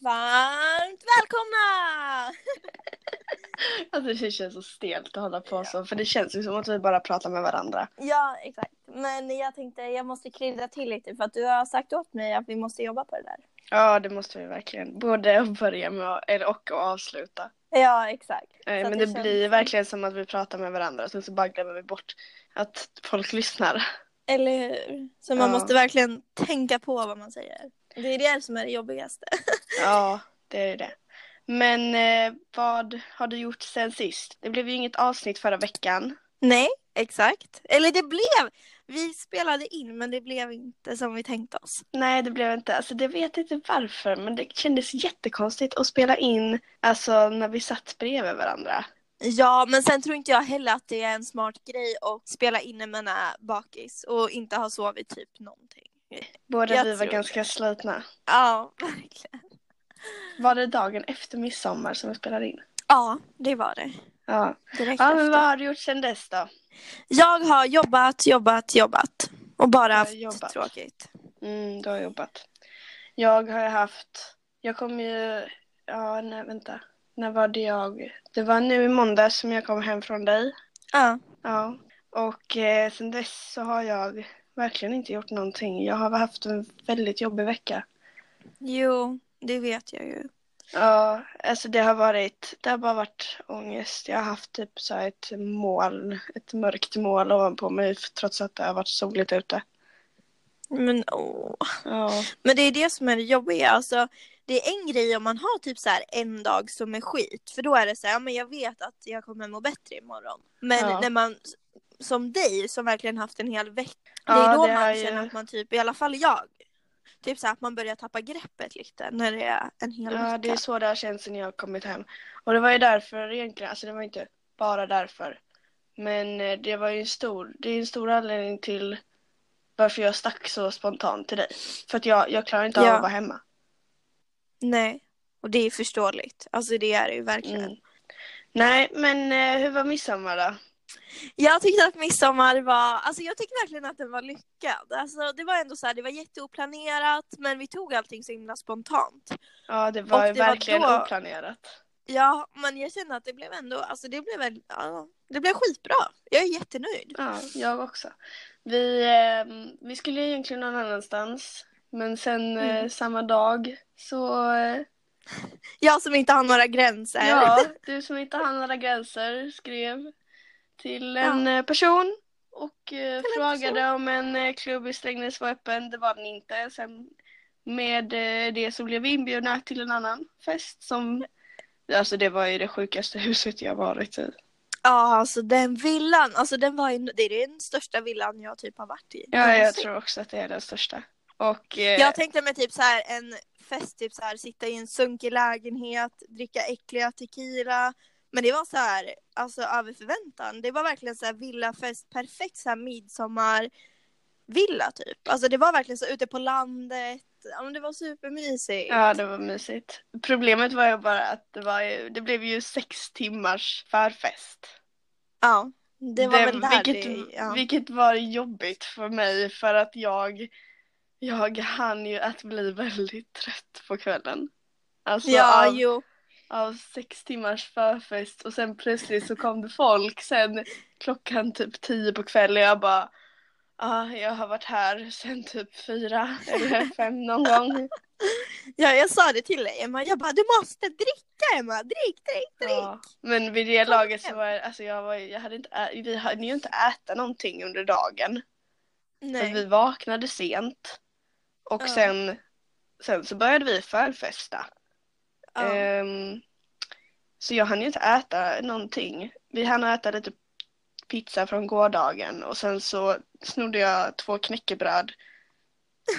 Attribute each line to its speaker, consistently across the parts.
Speaker 1: varmt välkomna!
Speaker 2: Alltså det känns så stelt att hålla på så. För det känns ju som att vi bara pratar med varandra.
Speaker 1: Ja, exakt. Men jag tänkte jag måste krydda till lite för att du har sagt åt mig att vi måste jobba på det där.
Speaker 2: Ja, det måste vi verkligen. Både att börja med och, eller, och att avsluta.
Speaker 1: Ja, exakt. Så
Speaker 2: Eh,
Speaker 1: att
Speaker 2: men det
Speaker 1: känns-
Speaker 2: blir verkligen som att vi pratar med varandra och sen så bara glömmer vi bort att folk lyssnar.
Speaker 1: Eller hur? Så man
Speaker 2: Ja.
Speaker 1: måste verkligen tänka på vad man säger. Det är det som är det jobbigaste.
Speaker 2: Ja, det är det. Men eh, vad har du gjort sen sist? Det blev ju inget avsnitt förra veckan.
Speaker 1: Nej, exakt. Eller det blev! Vi spelade in men det blev inte som vi tänkte oss.
Speaker 2: Nej, det blev inte. Alltså, det vet jag inte varför, men det kändes jättekonstigt att spela in alltså, när vi satt bredvid varandra.
Speaker 1: Ja, men sen tror inte jag heller att det är en smart grej att spela in när man är bakis och inte har sovit typ någonting.
Speaker 2: Båda
Speaker 1: Jag
Speaker 2: vi var
Speaker 1: tror
Speaker 2: ganska slitna.
Speaker 1: Ja, verkligen.
Speaker 2: Var det dagen efter midsommar som vi spelade in?
Speaker 1: Ja, det var det.
Speaker 2: Ja.
Speaker 1: Direkt
Speaker 2: ja,
Speaker 1: efter.
Speaker 2: men vad har du gjort sen dess då?
Speaker 1: Jag har jobbat, jobbat, jobbat. Och bara
Speaker 2: har
Speaker 1: haft
Speaker 2: jobbat.
Speaker 1: tråkigt.
Speaker 2: Mm, du har jobbat. Jag har ju haft, jag kom ju, ja nej vänta, när var det jag? Det var nu i måndag som jag kom hem från dig.
Speaker 1: Ja.
Speaker 2: Ja, och eh, sen dess så har jag verkligen inte gjort någonting. Jag har haft en väldigt jobbig vecka.
Speaker 1: Jo, det vet jag ju.
Speaker 2: Ja, alltså det har varit, det har bara varit ångest. Jag har haft typ så här ett moln, ett mörkt moln ovanpå mig trots att det har varit soligt ute.
Speaker 1: Men åh.
Speaker 2: Ja,
Speaker 1: Men det är det som är det jobbiga. Alltså, det är en grej om man har typ så här en dag som är skit. För då är det så här, ja, men jag vet att jag kommer må bättre imorgon. Men
Speaker 2: Ja.
Speaker 1: när man, som dig som verkligen haft en hel vecka. Det
Speaker 2: Ja,
Speaker 1: är då
Speaker 2: det har
Speaker 1: man
Speaker 2: ju-
Speaker 1: känner att man typ, i alla fall jag. Typ så här att man börjar tappa greppet lite när det är en hel
Speaker 2: ja det
Speaker 1: vecka.
Speaker 2: är så det har känts sen jag har kommit hem. Och det var ju därför egentligen, alltså det var inte bara därför. Men eh, det var ju en stor, det är en stor anledning till varför jag stack så spontant till dig. För att jag, jag klarar inte av
Speaker 1: Ja.
Speaker 2: att vara hemma.
Speaker 1: Nej. Och det är förståeligt. Alltså det är det ju verkligen.
Speaker 2: Mm. Nej, men eh, hur var midsommar då?
Speaker 1: Jag tyckte att midsommar var, alltså jag tyckte verkligen att den var lyckad. Alltså det var ändå så här, det var jätteoplanerat men vi tog allting så himla spontant.
Speaker 2: Ja, det var
Speaker 1: Och
Speaker 2: ju
Speaker 1: det var
Speaker 2: verkligen
Speaker 1: då-
Speaker 2: oplanerat.
Speaker 1: Ja, men jag känner att det blev ändå, alltså det blev, väl- ja, det blev skitbra. Jag är jättenöjd.
Speaker 2: Ja, jag också. Vi, eh, vi skulle egentligen någon annanstans, men sen eh,
Speaker 1: Mm.
Speaker 2: samma dag så... Eh,
Speaker 1: Jag som inte har några gränser.
Speaker 2: ja, du som inte hann några gränser skrev till en eh, person och eh,
Speaker 1: Till en
Speaker 2: frågade om en eh, klubb i Strängnäs var öppen. Det var den inte. Sen med eh, det så blev vi inbjudna till en annan fest som... Alltså det var ju det sjukaste huset jag varit i.
Speaker 1: ja, alltså den villan, alltså den var ju, det är den största villan jag typ har varit i.
Speaker 2: Ja, jag
Speaker 1: någonsin.
Speaker 2: tror också att det är den största. Och eh,
Speaker 1: Jag tänkte mig typ så här en fest, typ så här sitta i en sunkig lägenhet, dricka äckliga tequila. Men det var så här, alltså över förväntan. Det var verkligen så här villafest, perfekt så här midsommarvilla typ. Alltså det var verkligen så ute på landet. Ja, men det var supermysigt.
Speaker 2: ja, det var mysigt. Problemet var ju bara att det, var ju, det blev ju sex timmars förfest.
Speaker 1: Ja, det var väl där
Speaker 2: vilket,
Speaker 1: det, ja.
Speaker 2: vilket var jobbigt för mig för att jag, jag hann ju att bli väldigt trött på kvällen. Alltså
Speaker 1: ja,
Speaker 2: av,
Speaker 1: jo.
Speaker 2: av sex timmars förfest och sen plötsligt så kom det folk sen klockan typ tio på kvällen och jag bara ah, jag har varit här sen typ fyra eller fem någon gång.
Speaker 1: Ja, jag sa det till dig Emma, jag bara du måste dricka Emma, drick, drick, drick.
Speaker 2: Ja, men vid det
Speaker 1: Kom
Speaker 2: laget så
Speaker 1: hem.
Speaker 2: var jag, alltså jag var, jag hade inte, ä- vi hade ju inte äta någonting under dagen. För
Speaker 1: Nej.
Speaker 2: vi vaknade sent. Och
Speaker 1: Ja.
Speaker 2: sen, sen så började vi förfesta.
Speaker 1: Ja.
Speaker 2: Ehm, så jag hann ju inte äta någonting. Vi hann äta lite pizza från gårdagen och sen så snodde jag två knäckebröd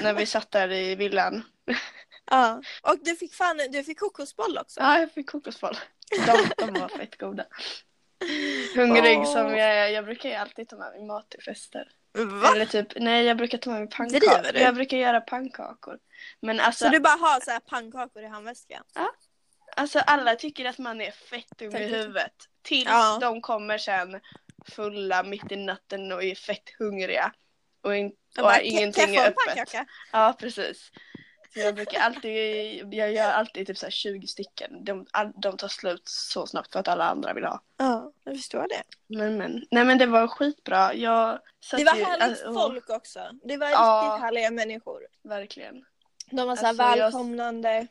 Speaker 2: när vi satt där i villan.
Speaker 1: ja. Och du fick fan, du fick kokosboll också.
Speaker 2: Ja, jag fick kokosboll. De, de var fett goda. Hungrig
Speaker 1: Åh.
Speaker 2: som jag är. Jag brukar ju alltid ta med mig mat till fester.
Speaker 1: Va?
Speaker 2: Eller typ, nej jag brukar ta med mig
Speaker 1: Driver
Speaker 2: pannkakor.
Speaker 1: du?
Speaker 2: Jag brukar göra pannkakor. Men alltså,
Speaker 1: Så du bara har så här pannkakor i handväskan?
Speaker 2: alltså alla tycker att man är fett dum i
Speaker 1: Tänker-
Speaker 2: huvudet. Tills
Speaker 1: Ja.
Speaker 2: de kommer sen fulla mitt i natten och är fett hungriga. Och, in,
Speaker 1: Jag
Speaker 2: och
Speaker 1: bara, "Kan-
Speaker 2: ingenting
Speaker 1: kan jag
Speaker 2: är
Speaker 1: få en
Speaker 2: öppet.
Speaker 1: pannkaka?
Speaker 2: Ja, precis. Så jag brukar alltid, jag gör alltid typ så här 20 stycken. De, all, de tar slut så snabbt för att alla andra vill ha.
Speaker 1: Ja, jag förstår det.
Speaker 2: Men, men, nej men det var skitbra. Jag satt
Speaker 1: Det var
Speaker 2: ju-
Speaker 1: härligt
Speaker 2: alltså,
Speaker 1: folk också. Det var
Speaker 2: Ja.
Speaker 1: riktigt härliga människor.
Speaker 2: Verkligen.
Speaker 1: De var så här
Speaker 2: Alltså, jag-
Speaker 1: välkomnande.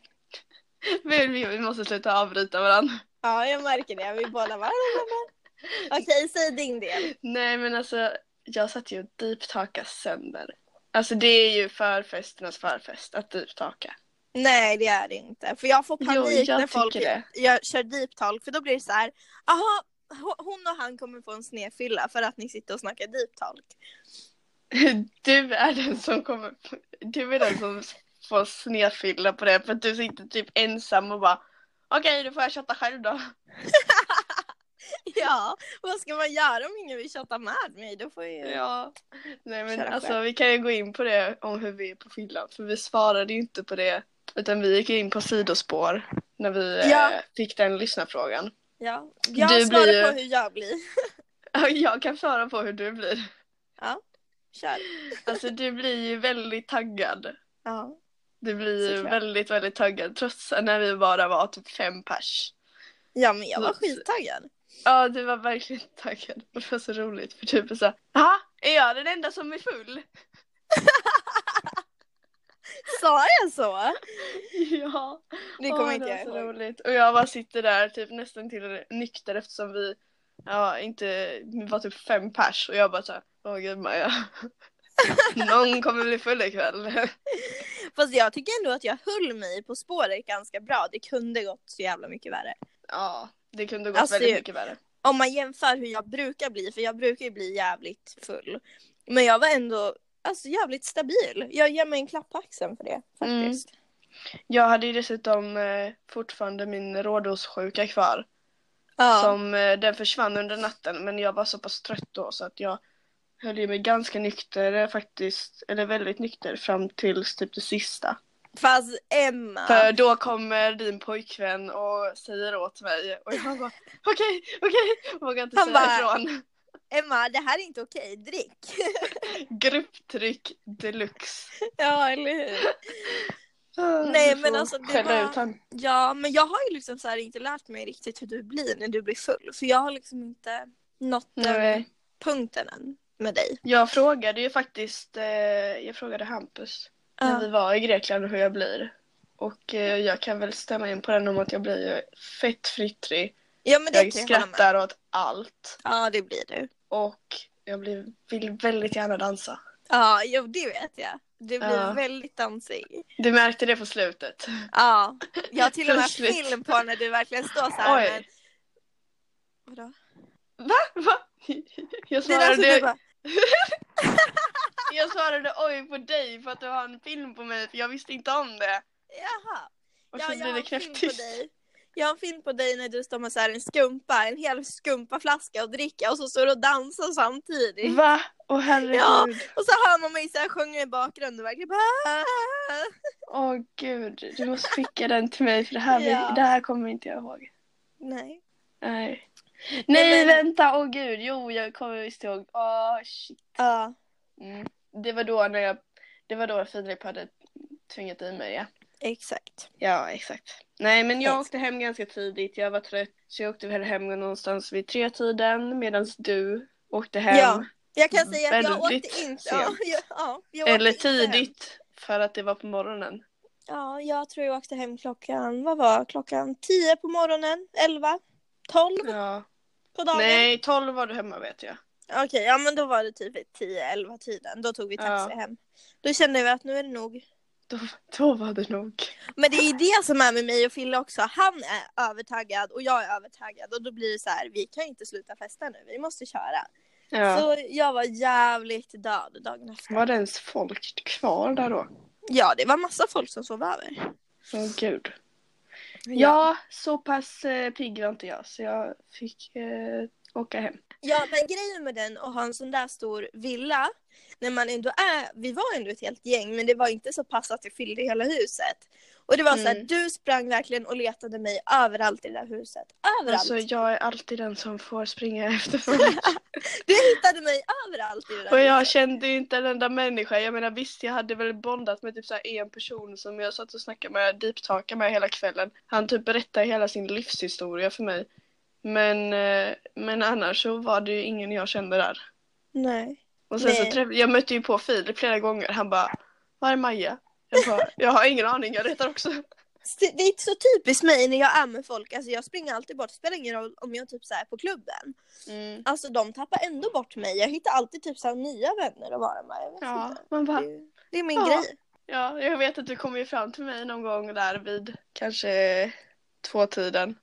Speaker 2: Vi, vi, vi måste sluta avbryta varandra.
Speaker 1: Ja, jag märker det. Vi båda var Okej, säg din del.
Speaker 2: Nej men alltså, jag satt ju och deeptalkade sönder. Alltså det är ju förfesternas förfest att deeptalka.
Speaker 1: Nej, det är det inte. För jag får panik
Speaker 2: jag
Speaker 1: när folk
Speaker 2: tycker det.
Speaker 1: jag kör deep talk. För då blir det så här. Jaha, ho- hon och han kommer få en snedfylla för att ni sitter och snackar deep talk.
Speaker 2: Du är den som kommer, du är den som får snedfylla på det för att du sitter typ ensam och bara Okej, då får jag chatta själv då.
Speaker 1: Ja, vad ska man göra om ingen vill chatta med mig? Då får jag ju...
Speaker 2: Ja. Nej men
Speaker 1: Köra själv.
Speaker 2: alltså vi kan ju gå in på det om hur vi är på fyllan för vi svarade ju inte på det utan vi gick in på sidospår när vi eh,
Speaker 1: Ja.
Speaker 2: fick den lyssnarfrågan.
Speaker 1: Ja. Jag
Speaker 2: Du
Speaker 1: svarar
Speaker 2: blir ju-
Speaker 1: på hur jag blir.
Speaker 2: Jag kan svara på hur du blir.
Speaker 1: Kör.
Speaker 2: Alltså du blir ju väldigt taggad.
Speaker 1: Ja.
Speaker 2: Du blir ju
Speaker 1: Såklart.
Speaker 2: väldigt, väldigt taggad trots att när vi bara var typ fem pers.
Speaker 1: ja, men jag var
Speaker 2: Så-
Speaker 1: skittaggad.
Speaker 2: Ja, du var verkligen taggad. Och det var så roligt för typ såhär, ja, är jag den enda som är full?
Speaker 1: Sa jag så?
Speaker 2: Ja.
Speaker 1: Det kommer
Speaker 2: Åh,
Speaker 1: inte
Speaker 2: var
Speaker 1: jag
Speaker 2: så
Speaker 1: ihåg.
Speaker 2: roligt. Och jag bara sitter där typ nästan till nykter eftersom vi, ja, inte, vi var typ fem pers och jag bara såhär, åh gud Maja. Någon kommer bli full ikväll.
Speaker 1: Fast jag tycker ändå att jag höll mig på spåret ganska bra. Det kunde gått så jävla mycket värre.
Speaker 2: Ja, det kunde gått
Speaker 1: Alltså,
Speaker 2: väldigt
Speaker 1: ju-
Speaker 2: mycket värre.
Speaker 1: Om man jämför hur jag brukar bli, för jag brukar ju bli jävligt full. Men jag var ändå alltså, jävligt stabil. Jag ger mig en klapp på axeln för det
Speaker 2: Mm.
Speaker 1: faktiskt.
Speaker 2: Jag hade ju dessutom eh, fortfarande min rådhussjuka kvar.
Speaker 1: Ja.
Speaker 2: Som, eh, den försvann under natten men jag var så pass trött då så att jag höll ju mig ganska nykter eh, faktiskt. Eller väldigt nykter fram tills typ det sista.
Speaker 1: Fast Emma.
Speaker 2: För då kommer din pojkvän och säger åt mig och jag bara okej, okej. Vågar inte
Speaker 1: Han
Speaker 2: säga
Speaker 1: bara-
Speaker 2: ifrån.
Speaker 1: Emma, det här är inte okej. Drick.
Speaker 2: Grupptryck deluxe.
Speaker 1: ja, eller hur? Nej,
Speaker 2: Du
Speaker 1: men
Speaker 2: får
Speaker 1: alltså, det
Speaker 2: skälla
Speaker 1: var-
Speaker 2: ut han.
Speaker 1: Ja, men jag har ju liksom så här inte lärt mig riktigt hur du blir när du blir full. För jag har liksom inte nått den
Speaker 2: Nej.
Speaker 1: punkten än med dig.
Speaker 2: Jag frågade ju faktiskt, eh, jag frågade Hampus när vi var i Grekland och hur jag blir. Och eh, jag kan väl stämma in på den om att jag blir ju fett fnittrig.
Speaker 1: Ja, men det
Speaker 2: Jag
Speaker 1: kan jag hålla med.
Speaker 2: skrattar åt allt.
Speaker 1: Ja, det blir du.
Speaker 2: Och jag blir, vill väldigt gärna dansa.
Speaker 1: Ja, jo, det vet jag. Du blir
Speaker 2: Ja.
Speaker 1: väldigt dansig.
Speaker 2: Du märkte det på slutet.
Speaker 1: Ja, jag har till och med
Speaker 2: Plötsligt.
Speaker 1: film på när du verkligen står så här.
Speaker 2: Oj.
Speaker 1: Men... Vadå?
Speaker 2: Va? Jag
Speaker 1: Det där som du
Speaker 2: svarade,
Speaker 1: bara,
Speaker 2: jag svarade oj på dig för att du har en film på mig för jag visste inte om det.
Speaker 1: jaha.
Speaker 2: Och
Speaker 1: ja,
Speaker 2: så
Speaker 1: jag
Speaker 2: blir
Speaker 1: har
Speaker 2: det
Speaker 1: en film på
Speaker 2: knäpptyst.
Speaker 1: dig. Jag har en film på dig när du står med så här en skumpa, en hel skumpaflaska och dricka och så står du och dansar samtidigt.
Speaker 2: Va? Åh herregud.
Speaker 1: Ja.
Speaker 2: Åh
Speaker 1: Och så hör man mig så här sjunga i bakgrunden och verkligen bara... "Ah."
Speaker 2: gud. Du måste skicka den till mig för det här,
Speaker 1: Ja.
Speaker 2: det här kommer inte jag ihåg.
Speaker 1: Nej.
Speaker 2: Nej. Nej,
Speaker 1: Nej, men-
Speaker 2: vänta, åh gud, jo jag kommer visst ihåg. Åh shit.
Speaker 1: Ja.
Speaker 2: Mm. Det var då när jag, det var då Filip hade tvingat i mig ja.
Speaker 1: Exakt.
Speaker 2: Ja, exakt. Nej men jag
Speaker 1: Exakt.
Speaker 2: åkte hem ganska tidigt, jag var trött. Så jag åkte väl hem någonstans vid tre tiden medan du åkte hem.
Speaker 1: Ja, Jag
Speaker 2: Mm.
Speaker 1: kan säga att jag
Speaker 2: Väldigt
Speaker 1: åkte inte... Ja,
Speaker 2: sent.
Speaker 1: jag, ja, jag åkte
Speaker 2: Eller
Speaker 1: inte hem.
Speaker 2: tidigt, för att det var på morgonen.
Speaker 1: Ja, jag tror jag åkte hem klockan, vad var klockan? 10 på morgonen, 11, 12
Speaker 2: Ja.
Speaker 1: på dagen.
Speaker 2: Nej, tolv var du hemma vet jag.
Speaker 1: Okej, ja men då var det typ 10-11 tiden, då tog vi taxi hem. Då kände vi att nu är det nog.
Speaker 2: Då, då var det nog.
Speaker 1: Men det är det som är med mig och Fille också, han är övertaggad och jag är övertaggad och då blir det så här, vi kan inte sluta festa nu, vi måste köra.
Speaker 2: Ja.
Speaker 1: Så jag var jävligt död dagen efter.
Speaker 2: Var det ens folk kvar där då?
Speaker 1: Ja, det var massa folk som sov över.
Speaker 2: Åh gud. Ja, så pass eh, pigg var inte jag så jag fick eh, åka hem.
Speaker 1: Ja, men grejen med den och ha en sån där stor villa när man ändå är, vi var ändå ett helt gäng men det var inte så pass att det fyllde hela huset. Och det var så här,
Speaker 2: Mm.
Speaker 1: du sprang verkligen och letade mig överallt i det där huset. Överallt!
Speaker 2: Alltså jag är alltid den som får springa efter folk.
Speaker 1: Du hittade mig överallt i det där
Speaker 2: Och jag
Speaker 1: huset.
Speaker 2: kände ju inte en enda människa. Jag menar visst, jag hade väl bondat med typ så här en person som jag satt och snackade med, deeptalkade med hela kvällen. Han typ berättade hela sin livshistoria för mig. Men, eh, men annars så var det ju ingen jag kände där.
Speaker 1: Nej.
Speaker 2: Och sen
Speaker 1: Nej.
Speaker 2: så träff- jag mötte ju på Filip flera gånger. Han bara, var är Maja? Jag bara, jag har ingen aning, jag letar också.
Speaker 1: Så Det det är inte så typiskt mig när jag är med folk, alltså jag springer alltid bort, det spelar ingen roll om jag typ så här är på klubben. Alltså de tappar ändå bort mig, jag hittar alltid typ så här nya vänner att vara med. Jag vet
Speaker 2: Ja,
Speaker 1: inte.
Speaker 2: man bara,
Speaker 1: Det, det är min
Speaker 2: Ja.
Speaker 1: grej.
Speaker 2: ja, jag vet att du kom ju fram till mig någon gång där vid kanske tvåtiden.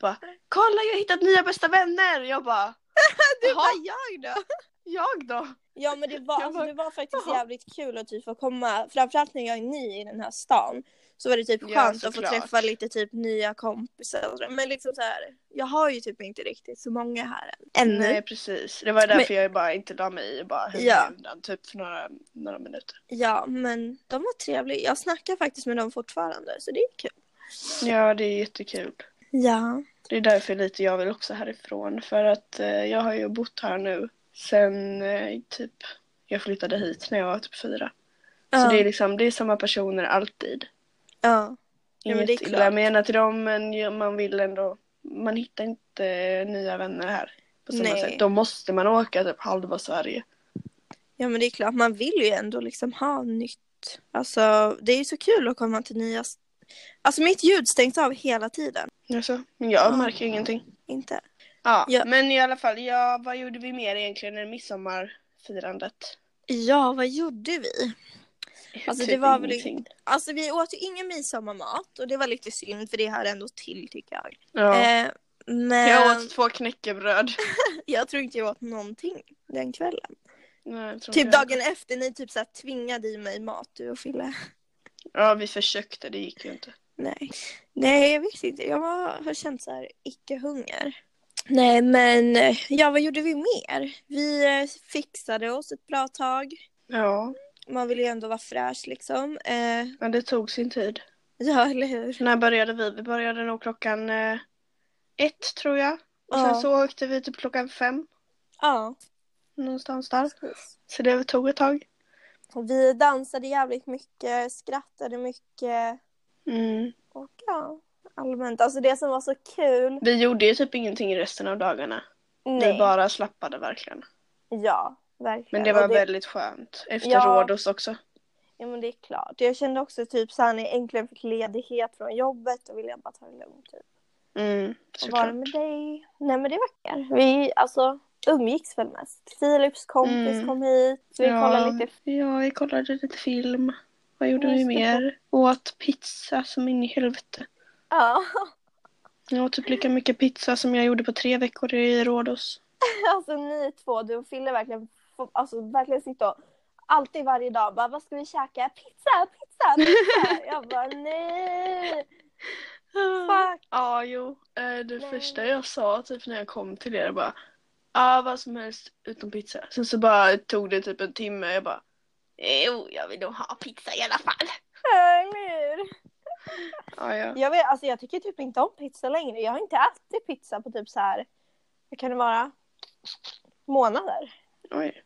Speaker 2: Bara, kolla jag har hittat nya bästa vänner! Jag bara,
Speaker 1: Du
Speaker 2: "Jaha,
Speaker 1: bara, jag då?
Speaker 2: jag då?
Speaker 1: Ja men det var,
Speaker 2: Jag
Speaker 1: alltså,
Speaker 2: bara,
Speaker 1: det var faktiskt
Speaker 2: jaha.
Speaker 1: jävligt kul att typ få komma, framförallt när jag är ny i den här stan. Så var det typ
Speaker 2: Ja,
Speaker 1: skönt att få
Speaker 2: såklart.
Speaker 1: träffa lite typ nya kompisar. och sådär. Men liksom så här, jag har ju typ inte riktigt så många här än. Ännu.
Speaker 2: Nej precis, det var därför jag bara inte la mig i och bara höll
Speaker 1: Ja.
Speaker 2: mig undan typ för några, några minuter.
Speaker 1: Ja men de var trevliga. Jag snackar faktiskt med dem fortfarande så det är kul.
Speaker 2: Ja, det är jättekul.
Speaker 1: Ja.
Speaker 2: Det är därför lite jag vill också härifrån för att eh, jag har ju bott här nu sen eh, typ jag flyttade hit när jag var typ fyra. Så
Speaker 1: Ja.
Speaker 2: det är liksom, det är samma personer alltid.
Speaker 1: ja. Ja, men
Speaker 2: Inget
Speaker 1: det är
Speaker 2: illa
Speaker 1: klart.
Speaker 2: menat till dem men ju- man vill ändå, man hittar inte nya vänner här på samma
Speaker 1: Nej.
Speaker 2: sätt. Då måste man åka typ halva Sverige.
Speaker 1: ja men det är klart man vill ju ändå liksom ha nytt. Alltså det är ju så kul att komma till nya. s- Alltså mitt ljud stängs av hela tiden.
Speaker 2: Alltså, men jag
Speaker 1: Ja.
Speaker 2: märker ingenting.
Speaker 1: Inte.
Speaker 2: Ja,
Speaker 1: Ja.
Speaker 2: men i alla fall, ja, vad gjorde vi mer egentligen än midsommarfirandet?
Speaker 1: Ja vad gjorde vi? Alltså,
Speaker 2: Typ
Speaker 1: det var väl Alltså vi åt ju ingen midsommarmat och det var lite synd för det hör ändå till tycker jag.
Speaker 2: Ja.
Speaker 1: Eh, men
Speaker 2: Jag
Speaker 1: jag,
Speaker 2: åt två knäckebröd.
Speaker 1: tror inte jag åt någonting den kvällen.
Speaker 2: Nej, jag tror
Speaker 1: Typ
Speaker 2: inte jag.
Speaker 1: dagen efter ni typ så här tvingade i mig mat du och Fille.
Speaker 2: Ja, vi försökte, det gick ju inte.
Speaker 1: Nej. Nej jag visste inte, jag var, har känt så här icke-hunger. Nej men eh, ja vad gjorde vi mer? Vi eh, fixade oss ett bra tag.
Speaker 2: Ja,
Speaker 1: Man vill ju ändå vara fräsch liksom. Eh,
Speaker 2: men det tog sin tid.
Speaker 1: ja eller hur?
Speaker 2: När började vi? Vi började nog klockan eh, ett tror jag. Och
Speaker 1: Ja.
Speaker 2: sen så åkte vi typ klockan fem.
Speaker 1: Ja.
Speaker 2: Någonstans där.
Speaker 1: precis.
Speaker 2: Så det tog ett tag.
Speaker 1: Och vi dansade jävligt mycket, skrattade mycket
Speaker 2: Mm.
Speaker 1: och ja, allmänt. Alltså det som var så kul.
Speaker 2: Vi gjorde ju typ ingenting i resten av dagarna. Vi bara slappade verkligen.
Speaker 1: Ja, verkligen.
Speaker 2: Men det
Speaker 1: Och
Speaker 2: var väldigt skönt. Efter
Speaker 1: Ja.
Speaker 2: Rhodos också.
Speaker 1: Ja men det är klart. Jag kände också typ såhär när jag äntligen fick ledighet från jobbet och ville jag bara ta det lugnt typ.
Speaker 2: Mm,
Speaker 1: Och vara
Speaker 2: såklart.
Speaker 1: med dig. Nej men det var kul. Vi alltså umgicks väl mest. Filips kompis
Speaker 2: Mm.
Speaker 1: kom hit. Så vi kollade lite.
Speaker 2: Ja, vi kollade lite film. Vad gjorde
Speaker 1: Just
Speaker 2: vi
Speaker 1: det.
Speaker 2: mer? Åt pizza som in i helvete.
Speaker 1: Ja,
Speaker 2: Jag åt typ lika mycket pizza som jag gjorde på tre veckor i Rhodos.
Speaker 1: alltså ni två, du och Fille verkligen, får- alltså verkligen sitta och alltid varje dag bara vad ska vi käka? Pizza, pizza, pizza. Jag bara nej. Fuck.
Speaker 2: Ja, jo. Eh, Det
Speaker 1: Nej.
Speaker 2: första jag sa typ när jag kom till er bara Ja, vad som helst utom pizza. Sen så bara tog det typ en timme. Jag bara Jo, jag vill nog ha pizza i alla fall.
Speaker 1: Eller hur?
Speaker 2: Ja, ja.
Speaker 1: Jag, vet, alltså jag tycker typ inte om pizza längre. Jag har inte ätit pizza på typ så här, vad kan det vara, månader.
Speaker 2: Oj.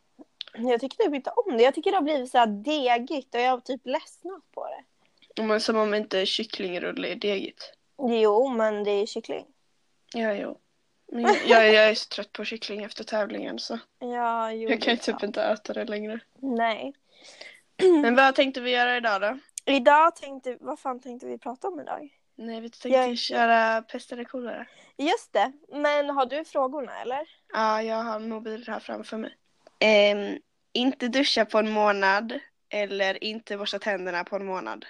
Speaker 1: Jag tycker typ inte om det. Jag tycker det har blivit så här degigt och jag har typ ledsnat på det.
Speaker 2: Men som om inte kycklingrulle är degigt.
Speaker 1: Jo, men det är kyckling.
Speaker 2: Ja, jo. Men jag, jag, jag är så trött på kyckling efter tävlingen så
Speaker 1: Ja, jo,
Speaker 2: jag
Speaker 1: det
Speaker 2: kan
Speaker 1: är
Speaker 2: ju typ
Speaker 1: klart.
Speaker 2: inte äta det längre.
Speaker 1: Nej.
Speaker 2: Men vad tänkte vi göra idag då?
Speaker 1: Idag tänkte, vad fan tänkte vi prata om idag?
Speaker 2: Nej, vi tänkte
Speaker 1: Jag-
Speaker 2: köra pest eller kolera.
Speaker 1: Just det, men har du frågorna eller?
Speaker 2: Ja, jag har mobilen här framför mig. Ehm, inte duscha på en månad eller inte borsta tänderna på en månad.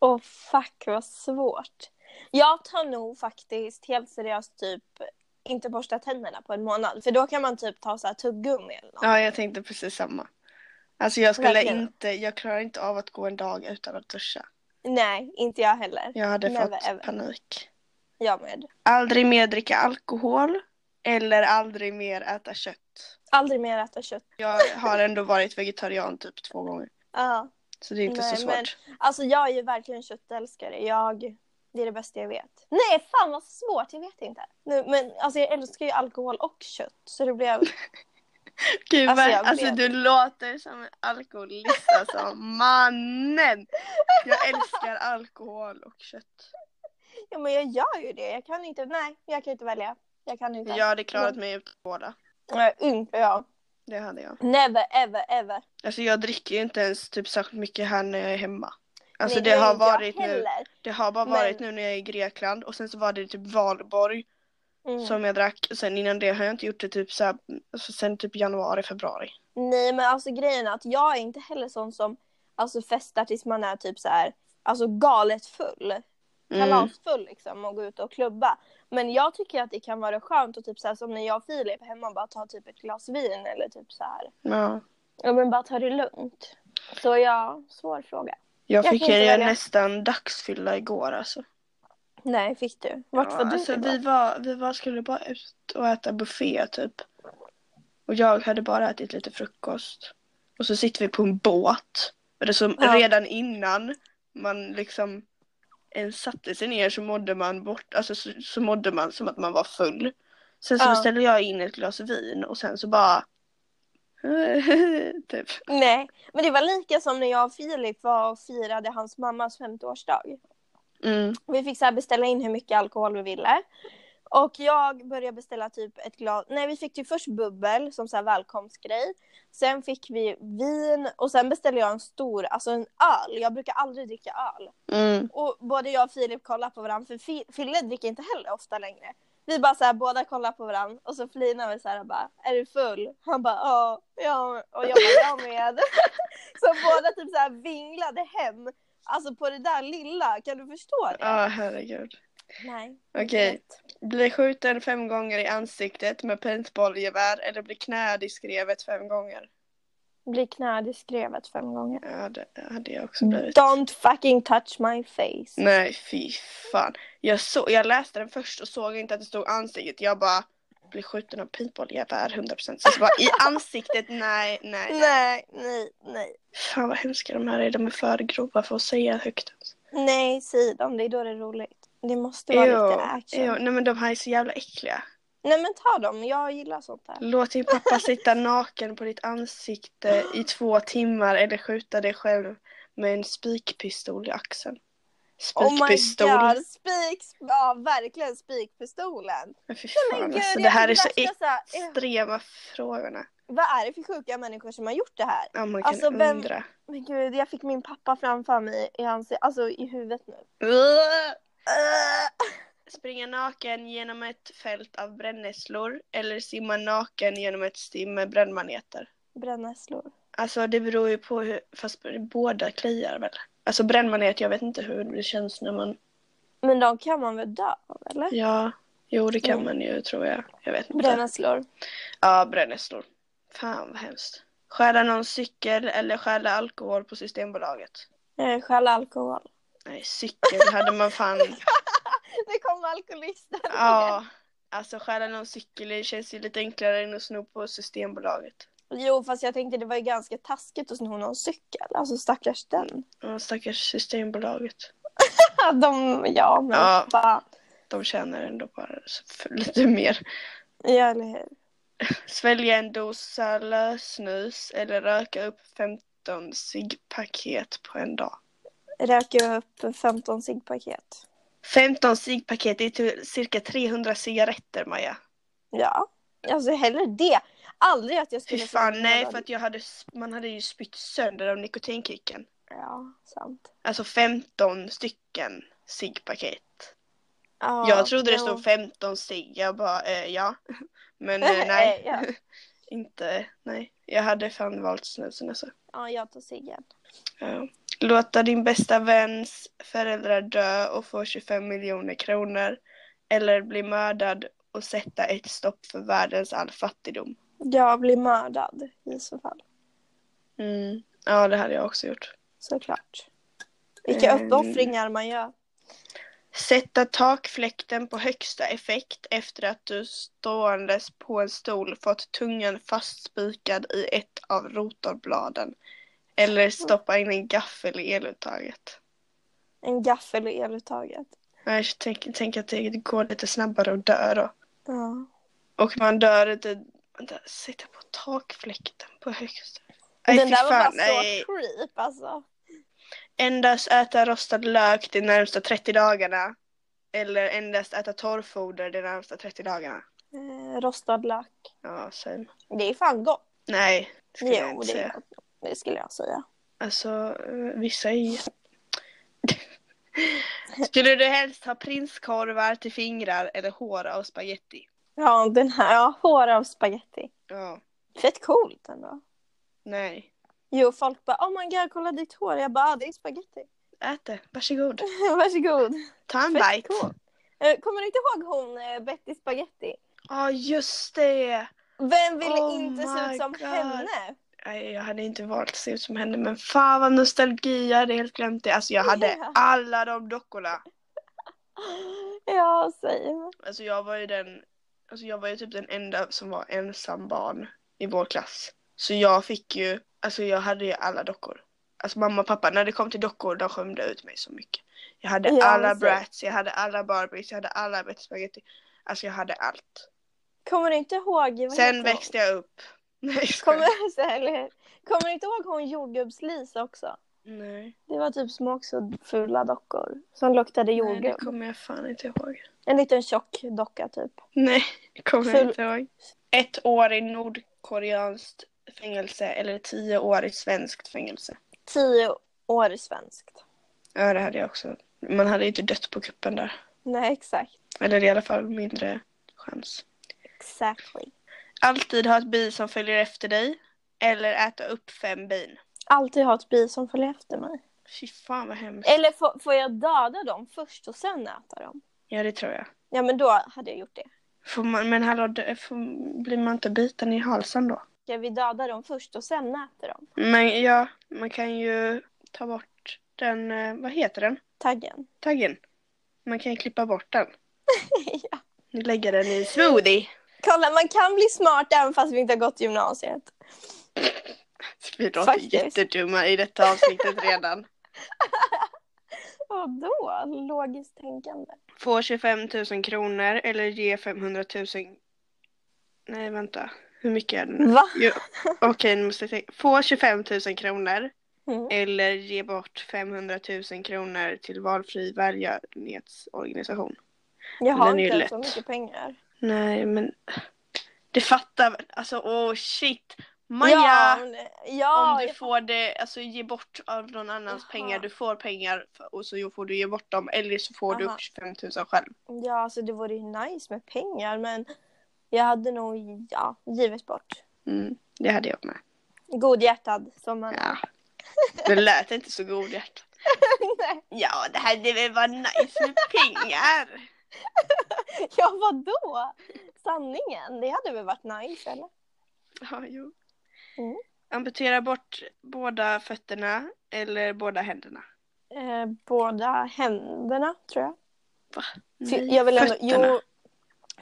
Speaker 1: Åh fuck vad svårt. Jag tar nog faktiskt helt seriöst typ inte borsta tänderna på en månad. För då kan man typ ta så här tuggummi eller något.
Speaker 2: Ja, jag tänkte precis samma. Alltså jag skulle
Speaker 1: Verkligen.
Speaker 2: inte, jag klarar inte av att gå en dag utan att duscha.
Speaker 1: Nej, inte jag heller.
Speaker 2: Jag hade
Speaker 1: Never
Speaker 2: fått
Speaker 1: ever.
Speaker 2: panik.
Speaker 1: Jag med.
Speaker 2: Aldrig mer dricka alkohol eller aldrig mer äta kött.
Speaker 1: Aldrig mer äta kött.
Speaker 2: Jag har ändå varit vegetarian typ två gånger.
Speaker 1: Ja.
Speaker 2: Så det är inte
Speaker 1: Nej,
Speaker 2: så svårt.
Speaker 1: men- Alltså jag är ju verkligen köttälskare. Jag, det är det bästa jag vet. Nej, fan vad svårt. Jag vet inte. Nu, men alltså jag älskar ju alkohol och kött. Så det blev...
Speaker 2: Gud,
Speaker 1: Alltså,
Speaker 2: alltså,
Speaker 1: jag
Speaker 2: alltså
Speaker 1: vet.
Speaker 2: du låter som en alkoholist alltså. Mannen! Jag älskar alkohol och kött.
Speaker 1: Ja men jag gör ju det. Jag kan inte... Nej, jag kan inte välja. Jag kan inte.
Speaker 2: Jag hade klarat mig utan båda.
Speaker 1: Nej, inte jag.
Speaker 2: Det hade jag.
Speaker 1: Never ever ever.
Speaker 2: Alltså jag dricker ju inte ens typ särskilt mycket här när jag är hemma. Alltså
Speaker 1: Nej,
Speaker 2: det
Speaker 1: gör
Speaker 2: har
Speaker 1: inte jag
Speaker 2: varit nu.
Speaker 1: heller.
Speaker 2: Det har bara
Speaker 1: Men-
Speaker 2: varit nu när jag är i Grekland och sen så var det typ valborg
Speaker 1: Mm.
Speaker 2: som jag drack. Och sen innan det har jag inte gjort det typ så här, alltså sen typ januari, februari.
Speaker 1: Nej men alltså grejen är att jag är inte heller sån som alltså, festar tills man är typ så här, alltså galet full.
Speaker 2: Mm.
Speaker 1: kalasfull liksom och gå ut och klubba. Men jag tycker att det kan vara skönt och typ så här, som när jag och Filip är hemma bara ta typ ett glas vin eller typ så här.
Speaker 2: Mm, Ja.
Speaker 1: Ja men bara ta det lugnt. Så ja, svår fråga.
Speaker 2: Jag
Speaker 1: Jag
Speaker 2: fick
Speaker 1: kan inte
Speaker 2: ju
Speaker 1: välja.
Speaker 2: nästan dagsfylla igår alltså.
Speaker 1: Nej, fick du? Vart
Speaker 2: ja,
Speaker 1: var du?
Speaker 2: alltså,
Speaker 1: igår?
Speaker 2: vi, var, vi var, skulle bara ut och äta buffé typ. Och jag hade bara ätit lite frukost. Och så sitter vi på en båt. Och det som
Speaker 1: Ja.
Speaker 2: redan innan man liksom ens satte sig ner så mådde man bort, alltså så, så mådde man som att man var full. Sen så
Speaker 1: Ja.
Speaker 2: beställde jag in ett glas vin och sen så bara typ.
Speaker 1: Nej, men det var lika som när jag och Filip var och firade hans mammas 50-årsdag.
Speaker 2: Mm.
Speaker 1: Vi fick så här beställa in hur mycket alkohol vi ville. Och jag började beställa typ ett glas, nej vi fick ju först bubbel som så här välkomstgrej. Sen fick vi vin och sen beställde jag en stor, alltså en öl. Jag brukar aldrig dricka öl.
Speaker 2: Mm.
Speaker 1: Och både jag och Filip kollade på varandra för Fi- Fille dricker inte heller ofta längre. Vi bara så här båda kollar på varandra och så flinar vi så här och bara är du full? Han bara ja, ja och jag bara jag med. så båda typ så här vinglade hem. Alltså på det där lilla, kan du förstå det?
Speaker 2: Ah, herregud.
Speaker 1: Nej.
Speaker 2: Okej. Bli skjuten fem gånger i ansiktet med paintballgevär eller bli knäad i skrevet fem gånger.
Speaker 1: Bli knäad i skrevet fem gånger.
Speaker 2: Ja, det hade jag också blivit.
Speaker 1: Don't fucking touch my face.
Speaker 2: Nej, fy fan. Jag, så, jag läste den först och såg inte att det stod ansiktet. Jag bara, bli skjuten av paintballgevär 100%. Sen Så bara, i ansiktet, nej, nej, nej.
Speaker 1: Nej, nej, nej.
Speaker 2: Fan vad hemska de här är. De är för grova för att säga högt.
Speaker 1: Nej, säg dem. Det är då det är roligt. Det måste vara lite action.
Speaker 2: ew. Nej men de här är så jävla äckliga.
Speaker 1: Nej men ta dem. Jag gillar sånt där.
Speaker 2: Låt din pappa sitta naken på ditt ansikte i två timmar eller skjuta dig själv med en spikpistol i axeln. Spikpistol.
Speaker 1: Oh my god. Spik. Ja, verkligen spikpistolen.
Speaker 2: men fy
Speaker 1: Men
Speaker 2: fan
Speaker 1: gud,
Speaker 2: alltså,
Speaker 1: jag
Speaker 2: det här är så
Speaker 1: värsta här, eh,
Speaker 2: extrema frågorna.
Speaker 1: Vad är det för sjuka människor som har gjort det här?
Speaker 2: Ja, man kan
Speaker 1: Alltså, vem-
Speaker 2: undra.
Speaker 1: Men gud, jag fick min pappa framför mig i, hans, alltså, i huvudet nu.
Speaker 2: Äh!
Speaker 1: Äh.
Speaker 2: Springa naken genom ett fält av brännässlor eller simma naken genom ett stim med brännmaneter.
Speaker 1: Brännässlor.
Speaker 2: Alltså det beror ju på hur, fast båda kliar väl. Alltså brännmanet, jag vet inte hur det känns när man
Speaker 1: Men de kan man väl dö av eller?
Speaker 2: Ja, jo det kan
Speaker 1: Mm.
Speaker 2: man ju tror jag. Jag vet inte.
Speaker 1: Brännässlor.
Speaker 2: Ja, brännässlor. Fan vad hemskt. Stjäla någon cykel eller stjäla alkohol på Systembolaget.
Speaker 1: Eh, Stjäla alkohol.
Speaker 2: Nej, cykel hade man fan...
Speaker 1: Det kom alkoholisten.
Speaker 2: Ja, alltså stjäla någon cykel det känns ju lite enklare än att sno på Systembolaget.
Speaker 1: Jo, fast jag tänkte det var ju ganska taskigt att sno någon cykel. Alltså stackars den.
Speaker 2: Ja, stackars Systembolaget.
Speaker 1: De, ja, men
Speaker 2: Ja.
Speaker 1: fan.
Speaker 2: De tjänar ändå bara så- för lite mer.
Speaker 1: Ja, eller hur?
Speaker 2: Svälja en dosa lösnus eller röka upp 15 ciggpaket på en dag.
Speaker 1: Röker upp 15 ciggpaket.
Speaker 2: 15 ciggpaket, det är till cirka 300 cigaretter Maja.
Speaker 1: Ja, alltså hellre det. Aldrig att jag
Speaker 2: Fy
Speaker 1: skulle...
Speaker 2: fan, nej
Speaker 1: sno
Speaker 2: för att jag hade, sp- man hade ju spytt sönder av nikotinkicken.
Speaker 1: Ja, sant.
Speaker 2: Alltså 15 stycken ciggpaket.
Speaker 1: Ja,
Speaker 2: jag trodde det
Speaker 1: jo.
Speaker 2: stod 15 cigg, jag bara eh, ja. Men eh, nej,
Speaker 1: ja.
Speaker 2: inte, nej. Jag hade fan valt snusen alltså.
Speaker 1: ja, jag tar ciggen.
Speaker 2: Ja. Låta din bästa väns föräldrar dö och få 25 miljoner kronor. Eller bli mördad och sätta ett stopp för världens all fattigdom.
Speaker 1: Jag blir mördad i så fall.
Speaker 2: Mm. Ja, det hade jag också gjort.
Speaker 1: Såklart. Vilka
Speaker 2: Mm.
Speaker 1: uppoffringar man gör.
Speaker 2: Sätta takfläkten på högsta effekt efter att du ståendes på en stol fått tungan fastspikad i ett av rotorbladen. Eller stoppa in en gaffel i eluttaget.
Speaker 1: En gaffel i eluttaget.
Speaker 2: Jag tänker tänk att det går lite snabbare att dö då.
Speaker 1: Ja.
Speaker 2: Och man dör inte... Vänta, sitta på takfläkten på högsta... Nej,
Speaker 1: Den
Speaker 2: fy
Speaker 1: där var bara
Speaker 2: fan,
Speaker 1: så
Speaker 2: nej.
Speaker 1: creep alltså.
Speaker 2: Endast äta rostad lök de närmsta 30 dagarna. Eller endast äta torrfoder de närmsta 30 dagarna.
Speaker 1: Eh, rostad lök.
Speaker 2: Ja, sen.
Speaker 1: Det är fan gott.
Speaker 2: Nej, det skulle jag
Speaker 1: Jo,
Speaker 2: inte
Speaker 1: det är
Speaker 2: säga.
Speaker 1: gott. Det skulle jag säga.
Speaker 2: Alltså, eh, vissa är jätte- Skulle du helst ha prinskorvar till fingrar eller hår av spaghetti?
Speaker 1: Ja, den här. Ja, hår av spaghetti.
Speaker 2: Ja,
Speaker 1: Fett coolt ändå.
Speaker 2: nej.
Speaker 1: Jo, folk bara oh my god, kolla ditt hår. Jag bara, ah, det är spaghetti.
Speaker 2: Ät det, varsågod.
Speaker 1: Varsågod.
Speaker 2: Ta en
Speaker 1: Fett
Speaker 2: bite.
Speaker 1: cool. Eh, Kommer du inte ihåg hon eh, Betty Spaghetti?
Speaker 2: Ja, just det.
Speaker 1: Vem ville
Speaker 2: Oh
Speaker 1: inte se
Speaker 2: my
Speaker 1: ut som
Speaker 2: God.
Speaker 1: henne?
Speaker 2: Nej, jag hade inte valt att se ut som henne, men fan vad nostalgi, jag hade helt glömt det. Alltså jag hade
Speaker 1: Ja.
Speaker 2: alla de dockorna.
Speaker 1: Ja, säg.
Speaker 2: Alltså jag var ju den, alltså jag var ju typ den enda som var ensam barn i vår klass. Så jag fick ju, alltså jag hade ju alla dockor. Alltså mamma och pappa, när det kom till dockor, de skämde ut mig så mycket. Jag hade
Speaker 1: Ja,
Speaker 2: alla
Speaker 1: alltså.
Speaker 2: Bratz, jag hade alla Barbies, jag hade alla Betty Spaghetti. Alltså jag hade allt.
Speaker 1: Kommer du inte ihåg? vad heter
Speaker 2: Sen
Speaker 1: hon?
Speaker 2: växte jag upp. Nej, jag skojar.
Speaker 1: Kommer, så här, eller hur? Kommer du inte ihåg hon jordgubbs-Lisa också?
Speaker 2: Nej.
Speaker 1: Det var typ små också fula dockor som luktade
Speaker 2: Nej, det
Speaker 1: jordgubb.
Speaker 2: kommer jag fan inte ihåg.
Speaker 1: En liten tjock docka typ.
Speaker 2: Nej, det kommer jag
Speaker 1: Full-
Speaker 2: inte ihåg. Ett år i nordkoreanskt fängelse eller tio år i svenskt fängelse.
Speaker 1: Tio år svenskt.
Speaker 2: Ja, det hade jag också. Man hade ju inte dött på kuppen där.
Speaker 1: Nej, exakt.
Speaker 2: Eller i alla fall mindre chans.
Speaker 1: Exactly.
Speaker 2: Alltid ha ett bi som följer efter dig. Eller äta upp fem bin.
Speaker 1: Alltid ha ett bi som följer efter mig.
Speaker 2: Fy fan vad hemskt.
Speaker 1: Eller får, får jag döda dem först och sen äta dem?
Speaker 2: Ja, det tror jag.
Speaker 1: Ja, men då hade jag gjort det.
Speaker 2: Får man, men hallå, dö- får, blir man inte biten i halsen då?
Speaker 1: Ska vi döda dem först och sen äta dem?
Speaker 2: Men ja, man kan ju ta bort den, eh, vad heter den?
Speaker 1: Taggen.
Speaker 2: Taggen. Man kan ju klippa bort den.
Speaker 1: ja.
Speaker 2: Nu lägger den i smoothie.
Speaker 1: Kolla, man kan bli smart även fast vi inte har gått gymnasiet.
Speaker 2: Vi låter
Speaker 1: Faktiskt.
Speaker 2: jättedumma i detta avsnittet redan.
Speaker 1: Vadå? Logiskt tänkande.
Speaker 2: Få 25 000 kronor eller ge 500 000. Nej vänta, hur mycket är det nu?
Speaker 1: Va?
Speaker 2: Jo, Okej, nu måste jag tänka. Få 25 000 kronor
Speaker 1: Mm.
Speaker 2: eller ge bort 500 000 kronor till valfri välgörenhetsorganisation.
Speaker 1: Jag har
Speaker 2: den är
Speaker 1: inte
Speaker 2: ju
Speaker 1: ens så
Speaker 2: lätt.
Speaker 1: mycket pengar.
Speaker 2: Nej men, det fattar väl. Alltså åh oh, shit. Maja!
Speaker 1: Ja, men- ja,
Speaker 2: Om du
Speaker 1: jag-
Speaker 2: får det, alltså ge bort av någon annans
Speaker 1: Jaha.
Speaker 2: pengar, du får pengar för- och så får du ge bort dem eller så får
Speaker 1: Jaha.
Speaker 2: du 25 000 själv.
Speaker 1: ja, alltså det vore ju nice med pengar men jag hade nog ja, givit bort.
Speaker 2: Mm, det hade jag med.
Speaker 1: Godhjärtad som man
Speaker 2: Ja. Det lät inte så godhjärtat.
Speaker 1: Nej,
Speaker 2: Ja, det hade väl varit nice med pengar.
Speaker 1: Ja, vadå? Sanningen, det hade väl varit nice eller?
Speaker 2: Ja, jo.
Speaker 1: Mm.
Speaker 2: Amputera bort båda fötterna eller båda händerna.
Speaker 1: Eh, båda händerna tror jag. För
Speaker 2: Nej,
Speaker 1: jag vill ändå,
Speaker 2: fötterna.
Speaker 1: jo,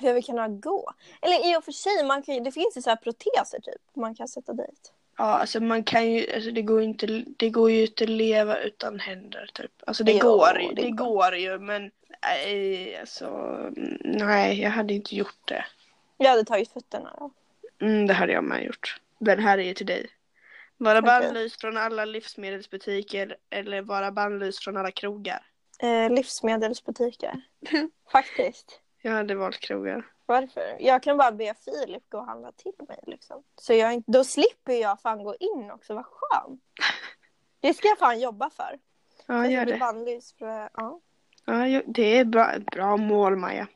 Speaker 1: för jag vill kunna gå. Eller i och för sig, man kan, ju- det finns ju så här proteser typ man kan sätta dit.
Speaker 2: Ja, alltså man kan ju, alltså det går ju inte, det går ju inte att leva utan händer typ. Alltså det
Speaker 1: Jo,
Speaker 2: går ju,
Speaker 1: det
Speaker 2: det,
Speaker 1: går.
Speaker 2: går ju men, nej, alltså, mm, nej jag hade inte gjort det.
Speaker 1: Jag hade tagit fötterna då.
Speaker 2: Mm, det hade jag med gjort. Den här är ju till dig. Vara
Speaker 1: Okej.
Speaker 2: bannlyst från alla livsmedelsbutiker eller vara bannlyst från alla krogar.
Speaker 1: Eh, livsmedelsbutiker. Faktiskt.
Speaker 2: Jag hade valt krogar.
Speaker 1: Varför? Jag kan bara be Filip gå och handla till mig liksom. Så jag, inte- då slipper jag fan gå in också, vad skönt. Det ska jag fan jobba för.
Speaker 2: Ja,
Speaker 1: jag
Speaker 2: gör
Speaker 1: bli
Speaker 2: det.
Speaker 1: bannlyst för, ja.
Speaker 2: Ja, jo, det är bra, bra mål Maja.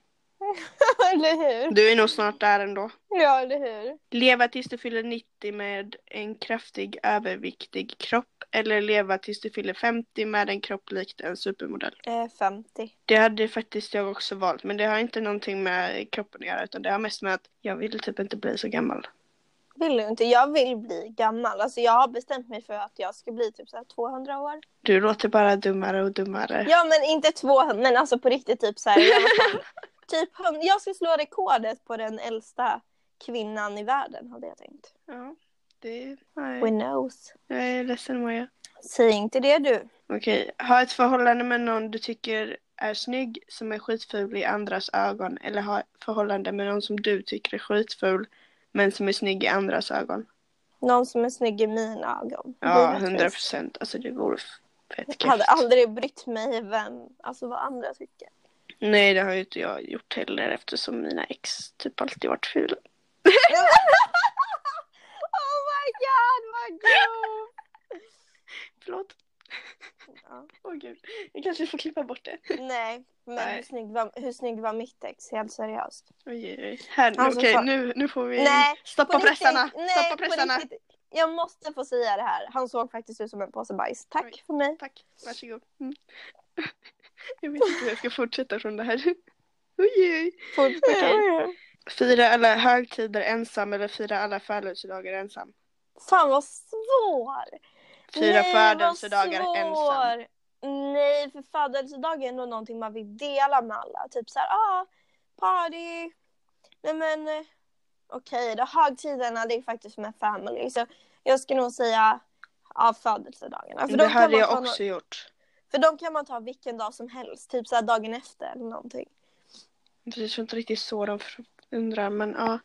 Speaker 1: eller hur?
Speaker 2: Du är nog snart där ändå.
Speaker 1: Ja, eller hur?
Speaker 2: Leva tills du fyller 90 med en kraftig överviktig kropp eller leva tills du fyller 50 med en kropp likt en supermodell.
Speaker 1: Eh, 50.
Speaker 2: Det hade faktiskt jag också valt men det har inte någonting med kroppen att göra utan det har mest med att jag vill typ inte bli så gammal.
Speaker 1: vill ju inte. Jag vill bli gammal. Alltså jag har bestämt mig för att jag ska bli typ så här 200 år.
Speaker 2: Du låter bara dummare och dummare.
Speaker 1: Ja men inte 200, men alltså på riktigt typ så här. Jag, var fan- typ, hund- jag ska slå rekordet på den äldsta kvinnan i världen hade jag tänkt.
Speaker 2: Ja, det...
Speaker 1: Who
Speaker 2: Nej,
Speaker 1: knows?
Speaker 2: jag är ledsen Moja.
Speaker 1: Säg inte det du.
Speaker 2: Okej, ha ett förhållande med någon du tycker är snygg som är skitful i andras ögon eller ha ett förhållande med någon som du tycker är skitful men som är snygg i andras ögon.
Speaker 1: Någon som är snygg i mina ögon.
Speaker 2: Ja,
Speaker 1: Givetvis.
Speaker 2: hundra procent. Alltså det vore f- fett
Speaker 1: Jag hade
Speaker 2: kul.
Speaker 1: aldrig brytt mig vem, alltså vad andra tycker.
Speaker 2: Nej, det har ju inte jag gjort heller eftersom mina ex typ alltid varit fula.
Speaker 1: Oh my god vad grovt!
Speaker 2: Förlåt.
Speaker 1: Ja.
Speaker 2: Åh gud. Jag kanske får klippa bort det.
Speaker 1: Nej, men Hur,
Speaker 2: Nej.
Speaker 1: snygg var, hur snygg var mitt ex? Helt seriöst.
Speaker 2: Oj, oj, oj. Här, nu-
Speaker 1: Alltså,
Speaker 2: okej,
Speaker 1: fan.
Speaker 2: nu, nu får vi
Speaker 1: Nej, På
Speaker 2: stoppa
Speaker 1: riktigt,
Speaker 2: pressarna.
Speaker 1: nej, på
Speaker 2: stoppa pressarna.
Speaker 1: riktigt. Jag måste få säga det här. Han såg faktiskt ut som en påse bajs. Tack
Speaker 2: Oj.
Speaker 1: för mig.
Speaker 2: Tack, varsågod. Mm. Jag vet inte hur jag ska fortsätta från det här. Oj, oj.
Speaker 1: Okej.
Speaker 2: Fira alla högtider ensam eller fira alla födelsedagar ensam.
Speaker 1: Fan vad svår!
Speaker 2: Fira
Speaker 1: Nej, vad
Speaker 2: födelsedagar
Speaker 1: svår.
Speaker 2: ensam.
Speaker 1: Nej, för födelsedagar är ändå någonting man vill dela med alla. Typ såhär, ah, party. Nej men, eh, okej då. Högtiderna, det är faktiskt med family. Så jag skulle nog säga, ja, födelsedagarna. För Alltså,
Speaker 2: det
Speaker 1: de kan
Speaker 2: hade
Speaker 1: man
Speaker 2: jag
Speaker 1: ta
Speaker 2: också
Speaker 1: nå-
Speaker 2: gjort.
Speaker 1: för de kan man ta vilken dag som helst. Typ såhär dagen efter eller någonting.
Speaker 2: Det är inte riktigt så de fr- undrar men ja.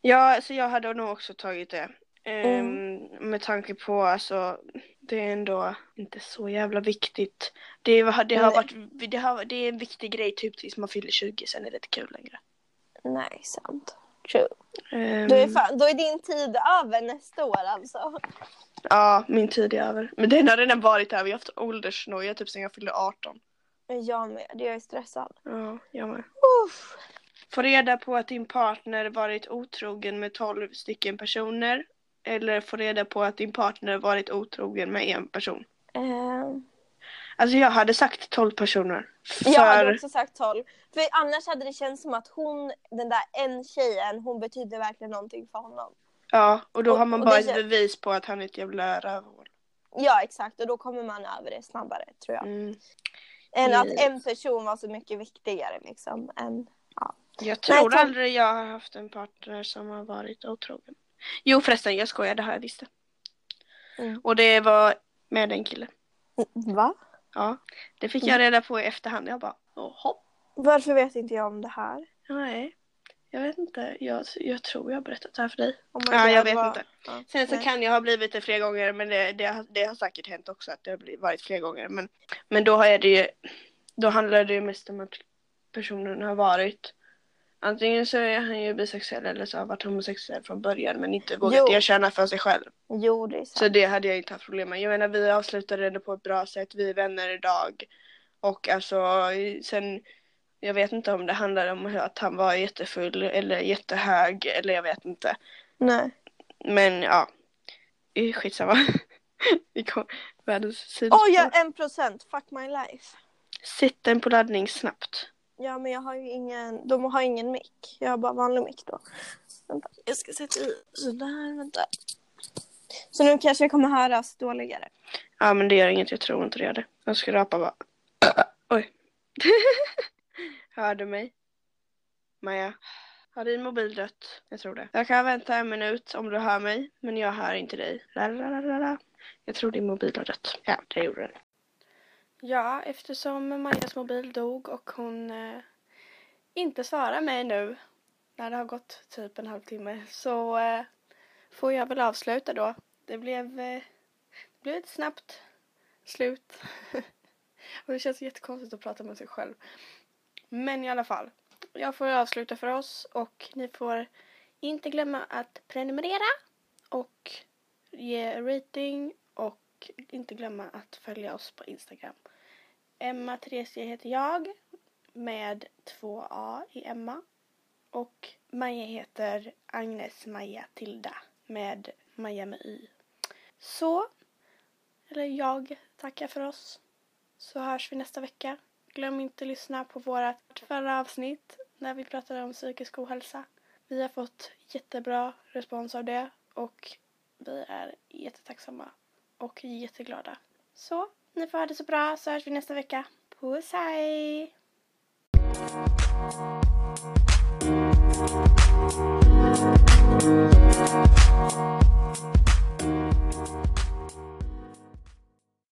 Speaker 2: Ja, så jag hade nog också tagit det.
Speaker 1: Mm.
Speaker 2: Ehm, Med tanke på alltså, det är ändå inte så jävla viktigt. Det, var- det, har
Speaker 1: Nej.
Speaker 2: varit, det, har, det är en viktig grej typ tills man fyller 20, sen är det inte kul längre.
Speaker 1: Nej, sant. True.
Speaker 2: Ehm,
Speaker 1: Då, är fan, då är din tid över nästa år alltså.
Speaker 2: Ja, min tid är över. Men den har redan varit över. Jag har haft åldersnoja typ sen jag fyllde 18.
Speaker 1: Jag med, jag är stressad.
Speaker 2: Ja, jag med.
Speaker 1: Uff.
Speaker 2: Få reda på att din partner varit otrogen med 12 stycken personer. Eller få reda på att din partner varit otrogen med en person.
Speaker 1: Ehm.
Speaker 2: Alltså jag hade sagt 12 personer.
Speaker 1: Jag hade
Speaker 2: För...
Speaker 1: också sagt 12. För annars hade det känts som att hon, den där en tjejen, hon betydde verkligen någonting för honom.
Speaker 2: Ja, och då
Speaker 1: Och-
Speaker 2: har man
Speaker 1: och
Speaker 2: bara
Speaker 1: det
Speaker 2: ett
Speaker 1: kän-
Speaker 2: bevis på att han är ett jävla rövhål.
Speaker 1: Ja exakt och då kommer man över det snabbare tror jag.
Speaker 2: Mm.
Speaker 1: Än att
Speaker 2: Yes.
Speaker 1: en person var så mycket viktigare liksom. Än...
Speaker 2: Jag tror
Speaker 1: tolv-
Speaker 2: aldrig jag har haft en partner som har varit otrogen. Jo förresten, jag skojar, det har jag visst. det.
Speaker 1: Mm.
Speaker 2: Och det var med en kille.
Speaker 1: Va?
Speaker 2: Ja, det fick jag reda på i efterhand. Jag bara, jaha.
Speaker 1: Varför vet inte jag om det här?
Speaker 2: Nej, jag vet inte. Jag, jag tror jag har berättat det här för dig.
Speaker 1: Oh my
Speaker 2: Ja,
Speaker 1: God,
Speaker 2: jag vet
Speaker 1: vad-
Speaker 2: inte.
Speaker 1: Ja.
Speaker 2: Sen så
Speaker 1: Nej.
Speaker 2: kan jag ha blivit det flera gånger, men det, det, har- det har säkert hänt också att det har blivit, varit flera gånger. Men, men då, är det ju, då handlar det ju mest om att personen har varit Antingen så är han ju bisexuell eller så har han varit homosexuell från början men inte vågat
Speaker 1: Jo.
Speaker 2: erkänna för sig själv.
Speaker 1: Jo det är sant.
Speaker 2: Så det hade jag inte haft problem med. Jag menar vi avslutade det på ett bra sätt, vi är vänner idag. Och alltså sen, jag vet inte om det handlade om att han var jättefull eller jättehög eller jag vet inte.
Speaker 1: Nej.
Speaker 2: Men ja, Eh, skitsamma. Vi kom, världens sidospår.
Speaker 1: Oj, jag har en procent. Fuck my life.
Speaker 2: Sätt den på laddning snabbt.
Speaker 1: Ja men jag har ju ingen, de har ingen mick. Jag har bara vanlig mick då. Vänta, jag ska sätta i sådär, vänta. Så nu kanske jag kommer höras dåligare.
Speaker 2: Ja men det gör inget, jag tror inte det gör det. Jag ska rapa bara. Oj. Hör du mig? Maja? Har din mobil dött? Jag tror det. Jag kan vänta en minut om du hör mig, men jag hör inte dig. La, la, la, la, la. Jag tror din mobil har dött. Ja, det gjorde den. Ja, eftersom Majas mobil dog och hon eh, inte svarar mig nu när det har gått typ en halvtimme så eh, får jag väl avsluta då. Det blev eh, det blev ett snabbt slut. och det känns jättekonstigt att prata med sig själv. Men i alla fall. Jag får avsluta för oss och ni får inte glömma att prenumerera och ge rating och inte glömma att följa oss på Instagram. Emma Theresia heter jag med två A i Emma. Och Maja heter Agnes Maja Tilda med Maja med Y. Så eller jag tackar för oss. Så hörs vi nästa vecka. Glöm inte att lyssna på vårt förra avsnitt när vi pratade om psykisk ohälsa. Vi har fått jättebra respons av det och vi är jättetacksamma och jätteglada. Så ni får ha det så bra så hörs vi nästa vecka. Puss hej!